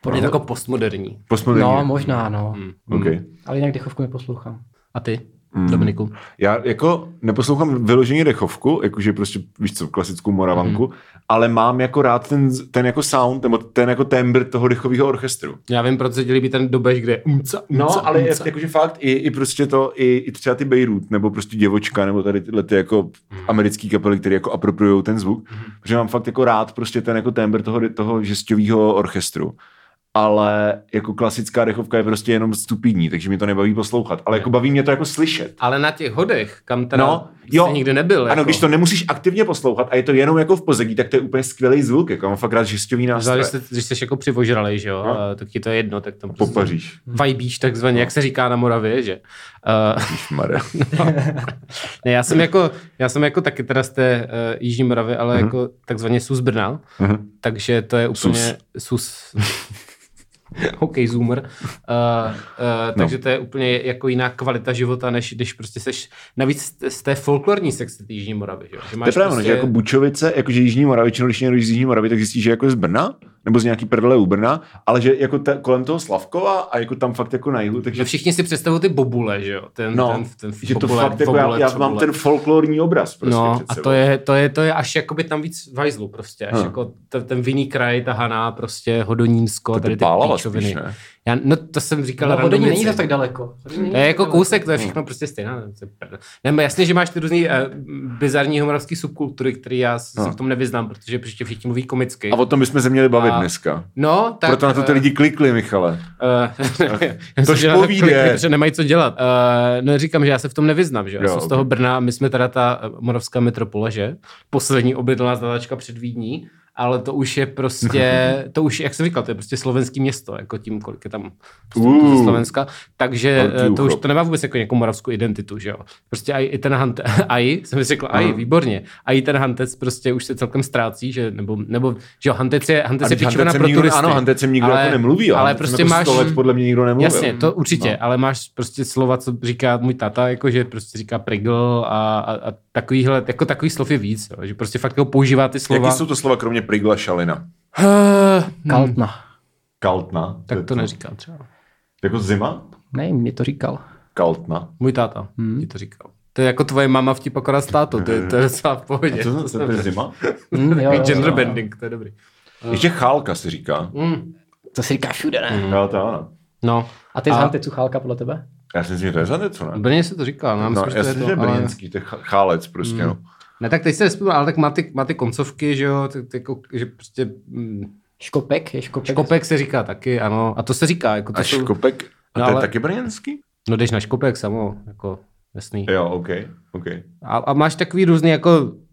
S2: to jako postmoderní.
S1: Postmoderní.
S3: No, možná, no.
S1: okay.
S3: Ale jinak dechovku neposlouchám.
S2: A ty? mm. Dominiku.
S1: Já jako neposlouchám vyloženě dechovku, jakože prostě, víš co, klasickou moravanku, mm. ale mám jako rád ten, ten jako sound, nebo ten jako tembr toho dechového orchestru.
S2: Já vím, proč se ti líbí ten dobež, kde je umca, umca,
S1: No, ale je,
S2: umca.
S1: jakože fakt i, i prostě to, i, i třeba ty Beirut, nebo prostě Děvočka, nebo tady tyhle ty jako americký kapely, které jako apropriují ten zvuk, protože mám fakt jako rád prostě ten jako tembr toho, toho žestového orchestru. Ale jako klasická dechovka je prostě jenom stupidní, takže mi to nebaví poslouchat. Ale jako baví mě to jako slyšet.
S2: Ale na těch hodech, kam teda
S1: No,
S2: no,
S1: jo.
S2: jsi nikdy nebyl.
S1: Ano,
S2: jako.
S1: když to nemusíš aktivně poslouchat a je to jenom jako v pozadí, tak to je úplně skvělý zvuk. Jako mám fakt rád žestový
S2: Zvlášť,
S1: nástroj.
S2: Když, jste, když jsi jako přivožralej, že jo,
S1: No.
S2: no. tak ti to je jedno, tak tam prostě
S1: Popaříš.
S2: vajbíš takzvaně, jak se říká na Moravě, že? Uh,
S1: Šmare.
S2: ne, já
S1: Mhm.
S2: jsem jako, já jsem jako taky teda z té uh, Jižní Moravy, ale jako takzvaně sus Brna,
S1: Mhm.
S2: takže to je úplně sus. OK, zoomer. Uh, uh,
S1: No.
S2: Takže to je úplně jako jiná kvalita života, než když prostě seš, navíc z- z té folklorní sekce té Jižní Moravy, že, jo? že
S1: To je právě, prostě... že jako Bučovice, jakože Jižní Moravičinu, když někdo je z Jižní Moravy, tak zjistí, že jako je z Brna, nebo z nějaký prdele u Brna, ale že jako ta, kolem toho Slavkova a jako tam fakt jako na jihu, takže
S2: No všichni si představují ty bobule, že jo? Ten,
S1: no,
S2: ten, ten
S1: že to
S2: bobule,
S1: fakt jako
S2: bobule,
S1: já, já
S2: co
S1: mám
S2: bobule.
S1: ten folklorní obraz prostě
S2: no,
S1: před
S2: a
S1: sebou.
S2: to je, to, je, to je až jakoby tam víc vajzlu prostě, až
S1: Hm.
S2: jako t- ten vinný kraj, ta Haná, prostě Hodonínsko,
S1: To
S2: to
S1: ty
S2: tady ty
S1: Pálava
S2: píčoviny.
S1: spíš, ne?
S2: Já, no to jsem říkal
S3: Ale Hodonín
S2: randomici.
S3: není zase tak daleko. Hodonín není
S2: to je
S3: zas
S2: jako
S3: tak daleko.
S2: kousek, to je všechno prostě stejná. Nebo jasně, že máš ty různý eh, bizarní homoravský subkultury, který já se
S1: Hm.
S2: v tom nevyznám, protože příště všichni mluví komicky.
S1: A o tom bychom se měli bavit
S2: A-
S1: dneska.
S2: No, tak...
S1: Tak, Proto na to ty
S2: eh,
S1: lidi No. klikli, Michale.
S2: Eh,
S1: Tož
S2: že na to
S1: povídej.
S2: klikli, Protože nemají co dělat. Uh, no říkám, že já se v tom nevyznám, že jo?
S1: Jo,
S2: Já jsem z
S1: ok.
S2: toho Brna, my jsme teda ta eh, moravská metropole, že? Poslední obydelná zadačka před Vídní, ale to už je prostě, to už, jak jsem říkal, to je prostě slovenský město, jako tím, kolik je tam
S1: Uh.
S2: uh, ze Slovenska, takže
S1: Velký
S2: eh, to už
S1: uchop.
S2: to nemá vůbec jako nějakou moravskou identitu, že jo? Prostě aj, i ten hant, aj, jsem si řekl, aj,
S1: Aha.
S2: výborně, a i ten hantec prostě už se celkem ztrácí, že, nebo, nebo, že jo, hantec je, hantec
S1: A
S2: je
S1: teď
S2: pičovina
S1: Hantecem
S2: pro
S1: nikdo-
S2: turisty.
S1: Ano, Hantecem nikdo ale, jako nemluví,
S2: ale prostě
S1: jako
S2: máš,
S1: 100 let podle mě nikdo nemluvil.
S2: Jasně, to určitě,
S1: No.
S2: no. ale máš prostě slova, co říká můj tata, jako že prostě říká pregl a, a, a takovýhle, jako takový slov je víc, jo, že prostě fakt jako používá ty slova.
S1: Jaký jsou to slova kromě Prigla Šalina?
S2: Kal-
S3: Kaltna.
S1: Kaltna.
S2: tak to neříká třeba.
S1: Jako zima?
S3: Nevím, mě to říkal.
S1: Kaltna.
S2: Můj táta hmm. ti to říkal. To je jako tvoje máma vtip akorát s tátou, to je, to je docela v pohodě.
S1: Eh, A co to, to, to je zima?
S3: Hm, jo, jo,
S2: Takový gender
S3: jo.
S2: bending, to je dobrý.
S1: Ještě chálka se říká.
S2: Mm.
S3: To se říká všude, ne?
S1: Jo, to ano.
S2: No,
S3: Hmm. A ty
S2: A-
S3: znáte cuchálka podle tebe?
S1: Já si myslím, že to je zanec, ne?
S2: v Brně se to říká, no, já
S1: No,
S2: myslím, že
S1: já si
S2: to je
S1: myslím, že
S2: to, ale... Mm.
S1: brněnský, to je cha- chálec prostě, no.
S2: Ne, tak teď se nespomínám, ale tak má ty, má ty koncovky, že jo, tak, tak, jako, že prostě... Mm,
S3: Škopek? Je škopek?
S2: Škopek se říká taky, ano. A to se říká, jako to
S1: A
S2: jsou...
S1: škopek, a
S2: No,
S1: to je
S2: ale-
S1: taky brněnský?
S2: No jdeš na škopek samo, jako jasný.
S1: Jo, OK, OK.
S2: A, a máš takový různý jako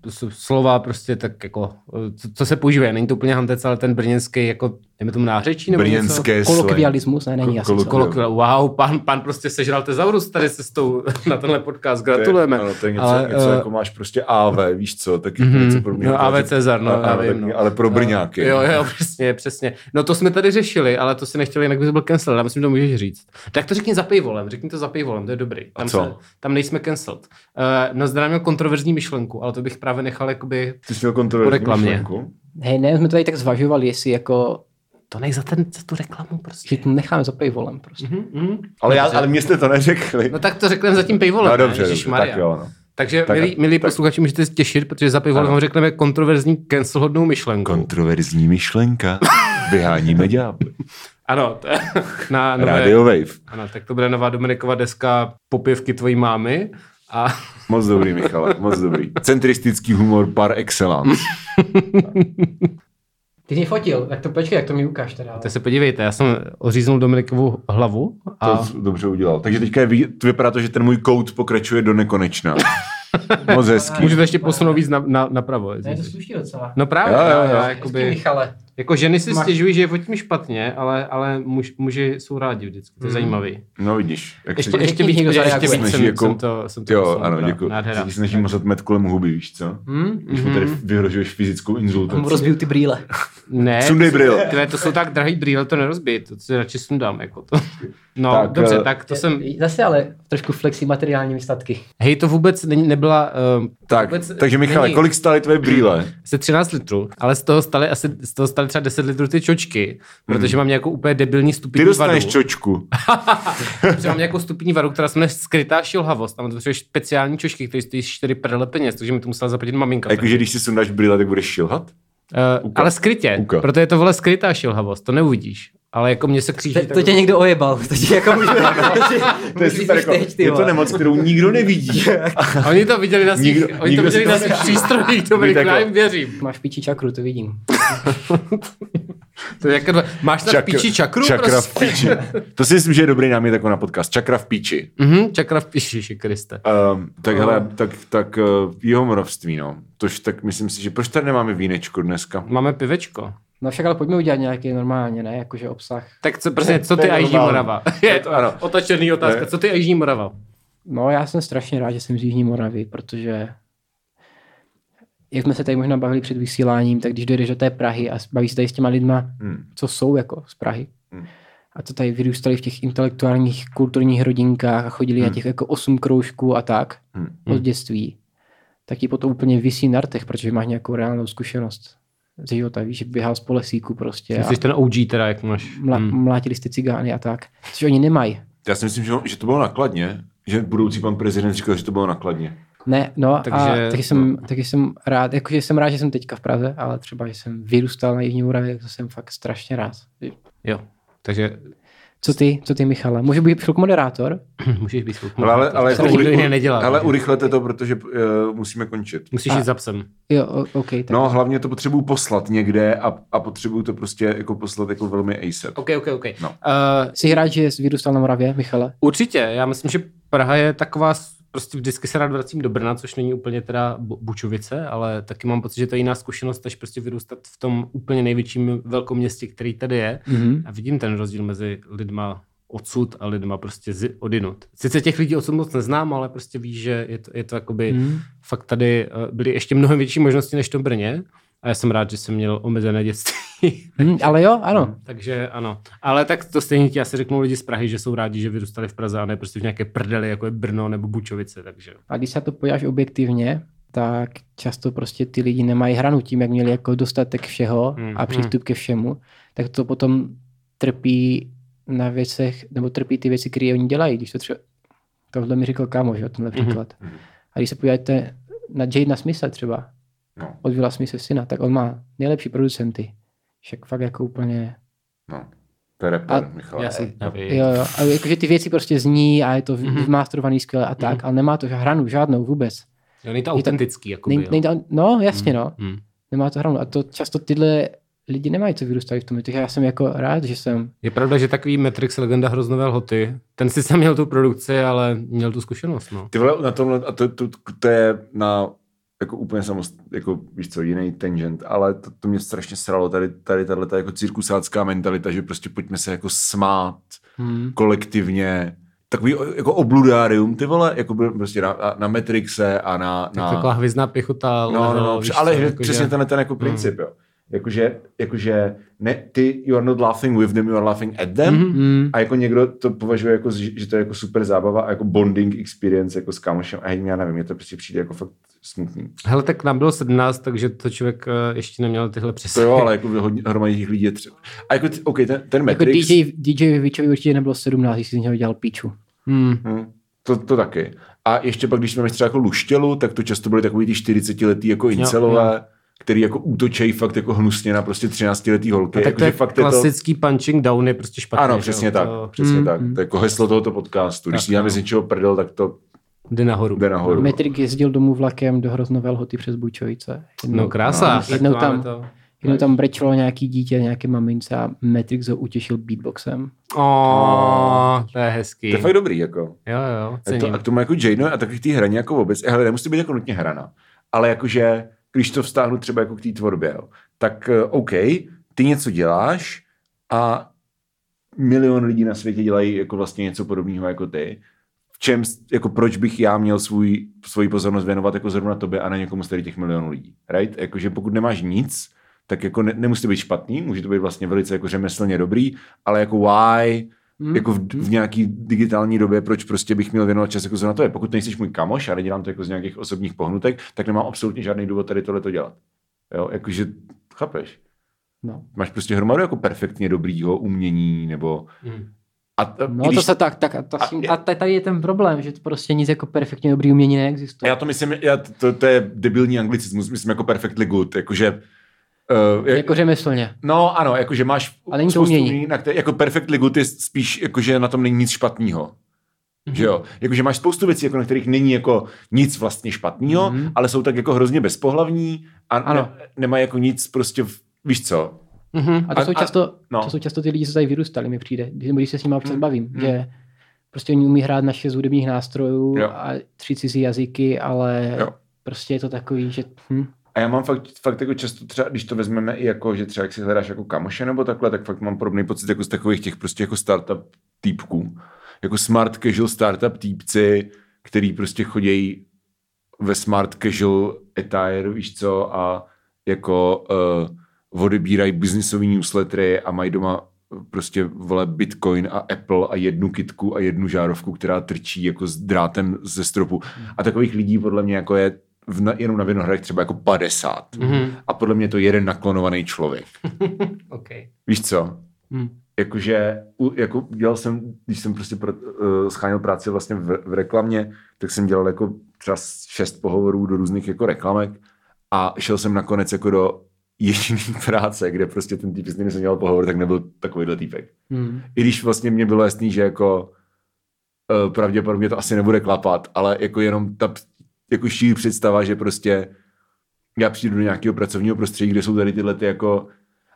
S2: s- slova prostě tak jako, eh, co, co se používá, není to úplně hantec, ale ten brněnský jako, dejme tomu nářečí nebo něco?
S1: Brněnské slang.
S3: Kolokvialismus? Ne, není
S1: Ko-
S3: asi.
S1: kolok-
S3: co.
S2: Kolokvil, wow, pan, pan prostě sežral tezaurus tady se s tou, na tenhle podcast, gratulujeme.
S1: To je, ano, to je něco,
S2: ale,
S1: ale, něco
S2: eh,
S1: jako máš prostě AV, víš co, tak je to
S2: Mhm.
S1: něco podobného.
S2: No, AV Cezar, no,
S1: A-
S2: já
S1: ale
S2: vím,
S1: tak-
S2: no.
S1: Ale pro Brňáky.
S2: Jo, jo, přesně, přesně. No to jsme tady řešili, ale to si nechtěli, jinak bys byl cancel, já myslím, že to můžeš říct. Tak to řekni za pejvolem, řekni to za pejvolem, to je dobrý. Tam,
S1: co?
S2: Se, tam nejsme cancelled. Uh, no zde měl kontroverzní myšlenku, ale to bych právě nechal jakoby,
S1: Ty jsi měl kontrolu
S2: Po reklamě.
S3: Hej, ne, jsme to tady tak zvažovali, jestli jako,
S2: to nej za, ten, za tu reklamu prostě.
S3: že to necháme za paywallem prostě.
S2: Mm-hmm.
S1: Ale, já, ale mě jste to neřekli.
S2: No tak to řekneme za tím pejvolem,
S1: no
S2: ne?
S1: dobře, dobře,
S2: Ježišmarja.
S1: tak jo, no.
S2: Takže
S1: Tak-
S2: milí, milí
S1: tak-
S2: posluchači, můžete se těšit, protože za pejvolem
S1: Ano.
S2: vám řekneme kontroverzní cancelhodnou myšlenku.
S1: Kontroverzní myšlenka. Vyháníme ďábly.
S2: ano, No to, na nové,
S1: Radio Wave.
S2: Ano, tak to bude nová Dominikova deska Popěvky tvojí mámy. A
S1: Moc dobrý, Michale, moc dobrý. Centristický humor par excellence.
S3: Ty jsi mě fotil, tak to počkej, jak to mi ukáž teda.
S2: to se podívejte, já jsem oříznul Dominikovu hlavu a
S1: To jsi dobře udělal. Takže teďka je, vidět- vypadá to, že ten můj kout pokračuje do nekonečna. Moc hezký.
S2: můžu to ještě posunout víc na, na, napravo.
S3: Ne, to sluší docela.
S2: No právě,
S1: Jo,
S2: jo,
S1: jo,
S2: jo,
S1: jo.
S2: Já,
S3: Hezky,
S2: jakoby,
S3: Michale.
S2: jako ženy si
S3: Máš-
S2: stěžují, že je fotím špatně, ale, ale muž, muži jsou rádi vždycky, to je zajímavý.
S1: No vidíš. Jak
S2: Ještě,
S1: se
S3: Řekni,
S2: ještě
S3: někdo
S2: víc, ještě, ještě
S3: zareaguje.
S2: víc
S1: Snaží
S2: jsem,
S1: jako-
S2: jsem to, jsem to
S1: Jo,
S2: posunul,
S1: ano,
S2: dobrá,
S1: děkuji.
S2: Nádhera.
S1: Se ti snažím mazat met kolem huby, víš co?
S2: Hm?
S1: Když mu tady vyhrožuješ fyzickou
S3: Já mu
S1: inzultací.
S3: rozbiju ty brýle.
S2: Ne,
S1: Sundej brýle.
S2: ty ne, to jsou tak drahý brýle, to nerozbij, to si radši sundám. Jako to. No,
S1: Tak,
S2: tak,
S1: eh,
S2: dobře, tak to jsem...
S3: Zase ale trošku flexí materiálními statky.
S2: Hej, to vůbec není, nebyla... Uh,
S1: Tak,
S2: vůbec
S1: takže Michale,
S2: není-
S1: kolik stály tvoje brýle?
S2: se 13 litrů, ale z toho staly asi z toho dostali třeba 10 litrů ty čočky, protože mám nějakou úplně debilní
S1: Hmm. Ty
S2: stupidní
S1: dostaneš
S2: vadu.
S1: čočku.
S2: protože mám nějakou stupidní vadu, která se jmenuje skrytá šilhavost. Tam potřebuješ speciální čočky, které stojí 4 prdele peněz, takže mi to musela zaplatit maminka.
S1: A jakože když si sundáš brýle, tak budeš šilhat?
S2: Uh, ale skrytě,
S1: Uka.
S2: Uka. proto je to vole skrytá šilhavost, to neuvidíš. Ale jako mě se kříží.
S3: To, to tě někdo ojebal, to tě jako můžu...
S1: To je, super, jako, je to nemoc, kterou nikdo nevidí.
S2: A Oni to viděli na svých,
S1: Nikdo-
S2: oni
S1: nikdo
S2: to
S1: si
S2: viděli
S1: to
S2: na svých
S1: nepřijde.
S2: přístrojích, dobrý,
S1: Víte, jako-
S2: já jim věřím.
S3: Máš píči čakru, to vidím.
S2: To je jako, dva- máš na píči čakru?
S1: čakra v
S2: prostě?
S1: píči. To si myslím, že je dobrý námět jako na podcast. Čakra v píči.
S2: Mhm, čakra v píči, Ježiši Kriste.
S1: Um, tak hele, tak, tak uh, jeho moravství, no. Tož tak myslím si, že proč tady nemáme vínečko dneska?
S2: Máme pivečko.
S3: No však ale pojďme udělat nějaký normálně, ne? Jakože obsah.
S2: Tak co, prostě, co
S1: to
S2: ty
S1: je
S2: a Jižní
S1: normální.
S2: Morava? Je
S1: to ano.
S2: otačený otázka,
S1: Ne.
S2: co ty a Jižní Morava?
S3: No já jsem strašně rád, že jsem z Jižní Moravy, protože jak jsme se tady možná bavili před vysíláním, tak když dojdeš do té Prahy a bavíš se tady s těma lidma,
S1: Hmm.
S3: co jsou jako z Prahy,
S1: Hmm.
S3: a to tady vyrůstali v těch intelektuálních, kulturních rodinkách a chodili na těch jako osm kroužků a tak
S1: Hmm.
S3: od dětství, tak ti potom úplně vysí na rtech, protože máš nějakou reálnou zkušenost ze života, víš, že běhal z polesíku prostě a
S2: Jsi ten OG teda, jak máš.
S3: mla,
S2: Mm.
S3: mlátili jste cigány a tak, což oni nemají.
S1: Já si myslím, že, že to bylo nakladně. Že budoucí pan prezident říkal, že to bylo nakladně.
S3: Ne, no
S2: Takže-
S3: a taky jsem, taky jsem rád, jakože jsem rád, že jsem teďka v Praze, ale třeba, že jsem vyrůstal na Jižní Moravě, tak to jsem fakt strašně rád.
S2: Jo, takže
S3: Co ty, co ty Michale? Můžu být chvilku moderátor?
S2: můžeš být svou
S1: Ale, ale, ale,
S2: to
S1: jako
S2: nikdo
S1: ury-
S2: jiný nedělá.
S1: ale
S2: takže
S1: urychlete to, protože uh, musíme končit.
S2: Musíš jít za psem.
S3: Jo, o, OK, tak.
S1: No, hlavně to potřebuju poslat někde a, a potřebuju to prostě jako poslat jako velmi ASAP.
S2: OK, OK, OK.
S1: No.
S2: Eh,
S3: Jsi rád, že jsi vyrůstal na Moravě, Michale?
S2: Určitě, já myslím, že Praha je taková, s- prostě vždycky se rád vracím do Brna, což není úplně teda Bu- Bučovice, ale taky mám pocit, že to je jiná zkušenost, než prostě vyrůstat v tom úplně největším velkom městě, který tady je.
S1: Mhm.
S3: Mm-hmm.
S2: A vidím ten rozdíl mezi lidma odsud a lidma prostě z, odinut. Sice těch lidí odsud moc neznám, ale prostě víš, že je to, je to jakoby,
S3: Mhm.
S2: hmm. fakt tady eh, byly ještě mnohem větší možnosti než to v Brně. A já jsem rád, že jsem měl omezené dětství.
S3: Mm, ale jo,
S1: Mhm.
S3: ano.
S2: Takže ano. Ale tak to stejně ti asi řeknou lidi z Prahy, že jsou rádi, že vyrůstali v Praze a ne prostě v nějaké prdeli, jako je Brno nebo Bučovice. Takže
S3: A když se na to podíváš objektivně, tak často prostě ty lidi nemají hranu tím, jak měli jako dostatek všeho
S2: Mm,
S1: Mhm.
S3: a přístup ke všemu, tak to potom trpí na věcech, nebo trpí ty věci, které oni dělají. Když to třeba, tohle mi říkal kámo, že jo, tenhle příklad.
S1: mhm.
S3: A když se podíváte na Jadena Smitha třeba,
S1: No,
S3: od Willa Smitha syna, tak on má nejlepší producenty. Však fakt jako úplně...
S1: no. To je rapper,
S3: A-
S1: Michal.
S2: já jsem nevím.
S3: Jo, jo. A jakože ty věci prostě zní a je to mm-hmm. masterovaný skvěle a tak, ale nemá to hranu žádnou vůbec.
S2: Jo, není to autentický. Jakoby,
S3: Nej,
S2: jo.
S3: nejde, no, jasně, no.
S2: Hm.
S3: nemá to hranu. A to často tyhle lidi nemají, co vyrůstali v tom. Takže já jsem jako rád, že jsem.
S2: Je pravda, že takový Matrix legenda hroznové lhoty, ten si sám měl tu produkci, ale měl tu zkušenost. No.
S1: Ty vole, na tomhle, a to, to, to je na jako úplně samost, jako víš co, jiný tangent, ale to, to mě strašně sralo, tady, tady tahle ta jako cirkusácká mentalita, že prostě pojďme se jako smát
S3: Hmm.
S1: kolektivně, takový o- jako obludárium, ty vole, jako byl prostě na, na- na Matrixe a na...
S2: Tak
S1: na
S2: taková hvězdná pěchota.
S1: no, no, no,
S2: víš
S1: ale
S2: co,
S1: hned
S2: jakože- Hmm.
S1: přesně tenhle ten jako princip, jo. Jakože, jakože ne, ty, you are not laughing with them, you are laughing at them,
S2: Mhm.
S3: Hmm.
S1: a jako někdo to považuje jako, že že to je jako super zábava a jako bonding experience jako s kámošem a já nevím, mě to prostě přijde jako fakt smutný.
S2: Hele, tak nám bylo 17, takže to člověk eh, ještě neměl tyhle
S1: To
S2: přesně.
S1: jo, ale jako hodně, hromadě těch lidí je třeba. A jako, t- OK, ten, ten
S3: Jako
S1: Matrix,
S3: DJ, DJ Vičovi určitě nebylo 17, když si z něho dělal píču.
S2: Hm.
S1: hm, to, to taky. A ještě pak, když jsme měli třeba jako luštělu, tak to často byly takový ty 40 letý jako incelové, který jako útočej fakt jako hnusně na prostě 13 letý holky.
S2: A tak
S1: jako,
S2: to je
S1: že fakt
S2: klasický punching down je prostě
S1: to...
S2: špatný.
S1: Ano,
S2: že jo,
S1: přesně
S2: to
S1: tak. Přesně
S3: Mm,
S1: tak.
S3: mm.
S1: To je jako heslo tohoto podcastu. Když
S2: Tak,
S1: si děláme
S2: no.
S1: z něčeho prdel, tak to
S2: Jde nahoru.
S1: jde nahoru.
S3: Metrik jezdil domů vlakem do Hroznové lhoty přes Bučovice.
S2: No krása. tak
S3: jednou
S2: to máme
S3: tam,
S2: To...
S3: jednou tam brečelo nějaký dítě, nějaké mamince a Matrix ho utěšil beatboxem.
S2: O, to je hezký.
S1: Oh. To je fakt dobrý, jako.
S2: Jo, jo,
S1: A to,
S2: cením.
S1: a k tomu jako Jane a takových ty hraní jako vůbec, hele, nemusí to být jako nutně hrana, ale jakože, když to vztáhnu třeba jako k té tvorbě, jo, tak eh, OK, ty něco děláš a milion lidí na světě dělají jako vlastně něco podobného jako ty. V čem, jako proč bych já měl svůj, svoji pozornost věnovat jako zrovna tobě a ne někomu z tady těch milionů lidí, right? Jakože pokud nemáš nic, tak jako ne, nemusí to být špatný, může to být vlastně velice jako řemeslně dobrý, ale jako why,
S3: Hmm.
S1: jako v, v nějaký digitální době, proč prostě bych měl věnovat čas jako na to je. Pokud nejsi můj kamoš a nedělám to jako z nějakých osobních pohnutek, tak nemám absolutně žádný důvod tady tohle to dělat. Jo, jakože, chápeš?
S3: No.
S1: Máš prostě hromadu jako perfektně dobrýho umění, nebo...
S2: Mm.
S1: A, a
S3: No to se tak, tak a, to
S1: A
S3: si,
S1: je-
S3: a t- tady je ten problém, že to prostě nic jako perfektně dobrý umění neexistuje.
S1: Já to myslím, já, to, to je debilní anglicismus, myslím jako perfectly good, jakože... Uh, jak,
S3: Jako řemeslně.
S1: no ano, jakože máš
S3: Ale není to
S1: spoustu
S3: umění.
S1: na které, jako perfectly good je spíš, jakože na tom není nic špatného. Že jo? Jakože máš spoustu věcí, jako na kterých není jako nic vlastně špatného,
S3: Mhm.
S1: ale jsou tak jako hrozně bezpohlavní a
S3: Ano.
S1: ne, nemají jako nic prostě, v, víš co,
S2: Mm-hmm.
S3: A to
S1: A-
S3: jsou
S1: a-
S3: často,
S1: no.
S3: to jsou často ty lidi, co tady vyrůstali, mi přijde, když, když se s nimi občas
S1: Hmm,
S3: bavím,
S1: hmm.
S3: že prostě oni umí hrát na šest hudebních nástrojů
S1: Jo.
S3: a tři cizí jazyky, ale
S1: Jo.
S3: prostě je to takový, že hm,
S1: A já mám fakt, fakt jako často třeba, když to vezmeme i jako, že třeba jak si hledáš jako kamoše nebo takhle, tak fakt mám podobný pocit jako z takových těch prostě jako startup týpků. Jako smart casual startup týpci, který prostě chodějí ve smart casual attire, víš co, a jako uh, odebírají biznisový newslettery a mají doma prostě vole Bitcoin a Apple a jednu kitku a jednu žárovku, která trčí jako s drátem ze stropu. A takových lidí podle mě jako je v, na, jenom na Vinohradech třeba jako 50.
S2: Mhm.
S1: A podle mě to je jeden naklonovaný člověk. Mhm.
S2: Okay.
S1: Víš co?
S3: Mhm.
S2: Mm.
S1: Jakože u- jako dělal jsem, když jsem prostě pro, uh, scháněl práci vlastně v, v reklamě, tak jsem dělal jako třeba šest pohovorů do různých jako reklamek a šel jsem nakonec jako do jediný práce, kde prostě ten týp, s kterým jsem dělal pohovor, tak nebyl takovýhle týpek.
S3: hm.
S1: I když vlastně mě bylo jasný, že jako eh, pravděpodobně to asi nebude klapat, ale jako jenom ta p- jako šíří představa, že prostě já přijdu do nějakého pracovního prostředí, kde jsou tady tyhle ty jako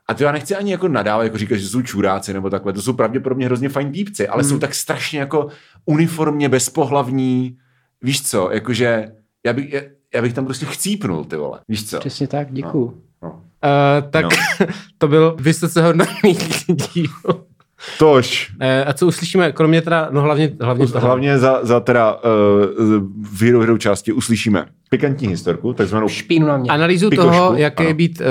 S1: a to já nechci ani jako nadávat, jako říkat, že jsou čuráci nebo takhle, to jsou pravděpodobně hrozně fajn týpci, ale hmm.
S3: Hmm.
S1: jsou tak strašně jako uniformně bezpohlavní, víš co, jakože já bych, já, já bych tam prostě chcípnul, ty vole, víš co.
S3: přesně tak, děkuju.
S1: No.
S2: Uh, tak
S1: No.
S2: no. to byl vysoce hodnotný díl.
S1: Tož.
S2: Eh, a co uslyšíme, kromě teda, no hlavně, hlavně,
S1: Us- Hlavně za, za teda uh, výrohou části uslyšíme pikantní historku, takzvanou
S3: Špínu na mě.
S2: analýzu
S1: Pikošku,
S2: toho, jaké
S1: ano.
S2: je být uh,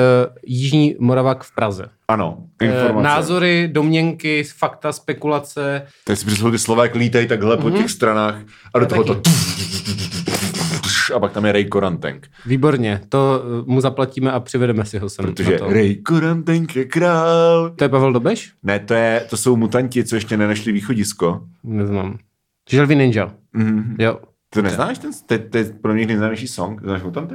S2: Jižní Moravak v Praze.
S1: ano,
S2: Eh,
S1: informace.
S2: Názory, domněnky, fakta, spekulace.
S1: Teď si představu, ty Slovák lítají takhle
S2: Mhm.
S1: po těch stranách a do toho to a pak tam je Ray Korantank,
S2: Výborně, to eh, mu zaplatíme a přivedeme si ho sem.
S1: protože
S2: na to.
S1: Ray Korantank je král.
S2: to je Pavel Dobeš?
S1: Ne, to, je, to jsou mutanti, co ještě nenašli východisko.
S2: Neznám. Želvy Ninja,
S1: Mm-hmm.
S2: jo.
S1: To neznáš? Ten, to, je- to je pro mě nejznámější song. Znáš mutanty?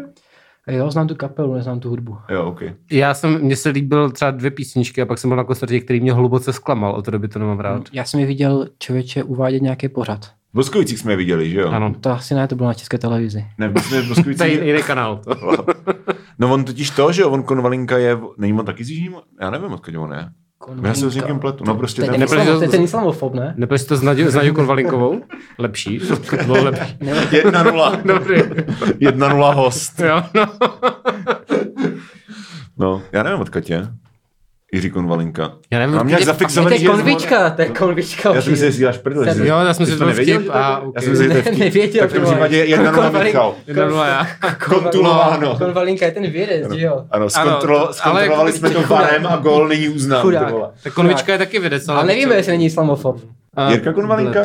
S3: Jo, znám tu kapelu, neznám tu hudbu.
S1: Jo, OK.
S2: Já jsem, mně se líbil třeba dvě písničky a pak jsem byl na koncertě, který mě hluboce zklamal, od té doby to nemám rád.
S3: Já jsem je viděl člověče uvádět nějaký pořad.
S1: V Boskovicích jsme je viděli, že jo?
S2: Ano.
S3: To asi ne, to bylo na české televizi.
S1: Ne, my jsme v
S2: To je
S1: Boskovicích...
S2: jiný kanál. To.
S1: No on totiž to, že jo, on Konvalinka je, není on taky z Jižního, já nevím, odkud on je. Já se s někým pletu, no prostě
S3: To je
S1: ten,
S3: ten,
S2: Nepletu-
S3: islamofob, to je ten islamofob, ne?
S2: Nepleč to s Naďou, s Naďou Konvalinkovou? Lepší. To bylo lepší.
S1: jedna nula,
S2: Dobrý.
S1: jedna nula host.
S2: Jo, no.
S1: No, já nevím, odkud je. Jiří Konvalinka.
S2: Já nevím,
S1: Mám nějak
S2: kde-
S3: Ne, to
S1: zafixovaný,
S3: je konvička, to je konvička.
S1: Já jsem si říkáš prdel. jestli-
S2: Jo, já jsem si
S1: jsi
S2: to
S1: nevěděl,
S2: vtip
S1: že to je-
S2: a
S1: Já
S2: okay.
S1: jsem si to
S3: Ne-
S1: vtip.
S3: nevěděl,
S1: Tak v tom
S3: ty vole.
S1: případě jedna nula
S3: Konvalin-
S1: Michal.
S2: Jedna nula já.
S1: Kontulováno.
S3: Konvalinka je ten vědec, že jo?
S1: Ano,
S2: Ano,
S1: zkontrolo-
S2: ale-
S1: zkontrolovali jsme to varem a gol není uznán. ty
S3: Chudák.
S1: vole.
S2: Tak konvička je taky vědec, ale...
S3: Ale nevíme, jestli není islamofob.
S2: A-
S1: Jirka Konvalinka?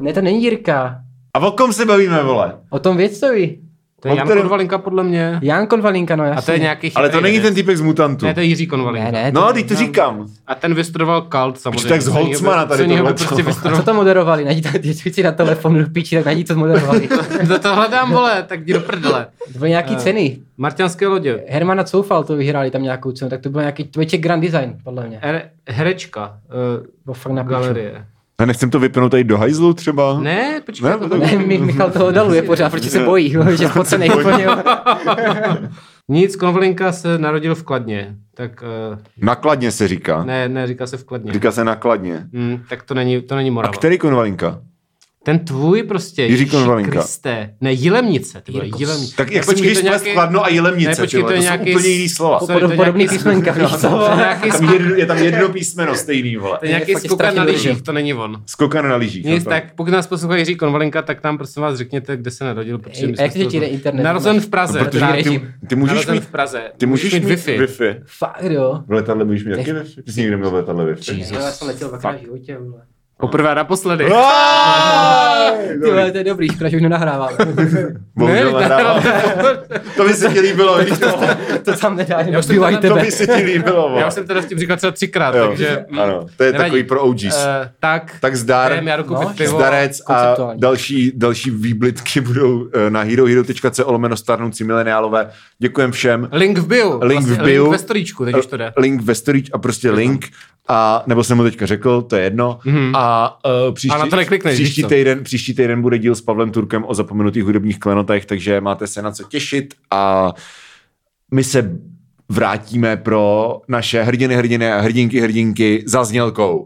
S3: Ne, to není Jirka.
S1: A o kom se bavíme, vole?
S3: O tom vědcovi.
S2: To je
S1: O
S2: Jan
S1: kterém-
S2: Konvalinka podle mě.
S3: Jan Konvalinka, no jasně.
S2: A to je nějaký
S1: Ale to
S2: chytrý
S1: není
S2: vědec.
S1: ten týpek z mutantů.
S2: Ne, to je Jiří Konvalinka.
S3: Ne, ne.
S1: No, teď to říkám.
S2: A ten vystudoval kalt samozřejmě.
S1: tak z
S2: Co jiného by-
S1: Holcmana tady
S2: co jiného by
S1: tohle
S2: prostě
S1: co?
S3: A co
S2: vystudoval.
S3: to moderovali? Najdi to, když si na telefonu do píči, tak najdi, co moderovali.
S2: To, to hledám, vole, tak jdi do prdele.
S3: To byly nějaký
S2: Eh.
S3: ceny.
S2: Marťanské lodě.
S3: Hermana Coufal to vyhráli tam nějakou cenu, tak to byl nějaký tvojček Grand Design, podle mě.
S2: Her, herečka.
S3: Bo fakt
S2: Uh,
S3: na piču.
S2: galerie.
S1: Já nechcem to vypnout tady do hajzlu třeba.
S2: Ne, počkej.
S1: Ne,
S2: to
S1: to-
S2: bylo-
S3: Ne, Mi- Michal toho odaluje pořád, protože se bojí, že je spocenej úplně. jo.
S2: Nic, Konvalinka se narodil v Kladně. Tak uh,
S1: Nakladně se říká.
S2: ne, ne, říká se v Kladně.
S1: Říká se nakladně.
S2: Mm, tak to není, to není
S1: A
S2: Morava.
S1: který konvalinka?
S2: Ten tvůj prostě.
S1: Jiří
S2: Ježíši
S1: Konvalinka.
S2: Kriste. Ne, Jilemnice. Ty vole,
S3: Jirko,
S2: Jilemnice.
S1: Tak jak si
S2: Ne, počkej,
S1: můžeš
S2: to
S1: nějaký...
S2: nějaký-
S1: skladno a jilemnice,
S2: Ne, počkej,
S1: ty vole,
S2: to
S1: to,
S2: je
S1: jsou
S2: nějaký-
S1: úplně jiný slova.
S2: Sorry, to
S3: Podob-
S2: je
S3: Podobný
S2: nějaký-
S3: písmenka, víš co?
S2: To je nějaký,
S1: Tam
S2: sk-
S1: jedno, je tam jedno písmeno stejný, vole.
S2: to je nějaký
S3: Je fakt
S2: skokan na
S3: strašně
S2: lyžích,
S3: dobrý.
S2: to není on.
S1: Skokan na lyžích.
S2: Nic,
S1: no to-
S2: tak pokud nás poslouchá Jiří Konvalinka, tak nám prosím vás řekněte, kde se narodil. Protože
S3: Ej,
S2: my
S3: a
S2: jsme
S3: jak
S2: z toho-
S3: ti jde internet?
S2: Narozen
S3: Máš-
S2: v Praze.
S1: No, Protože
S2: teda-
S1: ty, ty můžeš
S2: narozen
S1: mít,
S2: v Praze.
S1: ty můžeš mít
S2: Wi-Fi.
S1: Wi-Fi.
S3: Fakt jo.
S1: V letadle můžeš mít taky Wi-Fi? Ty jsi nikdy měl v letadle Wi-Fi.
S2: Jesus.
S3: Já jsem letěl dvakrát v životě, vole.
S2: Poprvé naposledy.
S3: Ty vole, to je dobrý, škoda, že už nenahrávám.
S1: Bohužel nahrávám. To by se ti líbilo, víš to?
S3: to tam nedá,
S2: Já už jsem
S3: neodbývají
S2: to na-
S1: To
S3: tebe.
S1: by se ti líbilo,
S2: Já
S1: vole.
S2: už jsem teda s tím říkal třeba třikrát,
S1: Jo,
S2: takže... mm,
S1: Ano, to je
S2: nevadí.
S1: takový pro OGs.
S2: Eh, tak,
S1: Tak zdar,
S2: jdem, já jdu koupit
S3: no,
S2: pivo.
S1: zdarec a
S3: konceptuální.
S1: další, další výblitky budou eh, na herohero.co lomeno starnoucí mileniálové. Děkujem všem.
S2: Link v bio.
S1: Link v bio.
S2: Vlastně Link ve storíčku, teď už to jde.
S1: Link ve story a prostě link. A, nebo jsem mu teďka řekl, to je jedno.
S2: Mhm.
S1: A, uh, příští,
S2: A na to neklikneš,
S1: příští,
S2: víš co?
S1: týden, příští týden bude díl s Pavlem Turkem o zapomenutých hudebních klenotech, takže máte se na co těšit a my se vrátíme pro naše hrdiny, hrdiny a hrdinky, hrdinky za znělkou.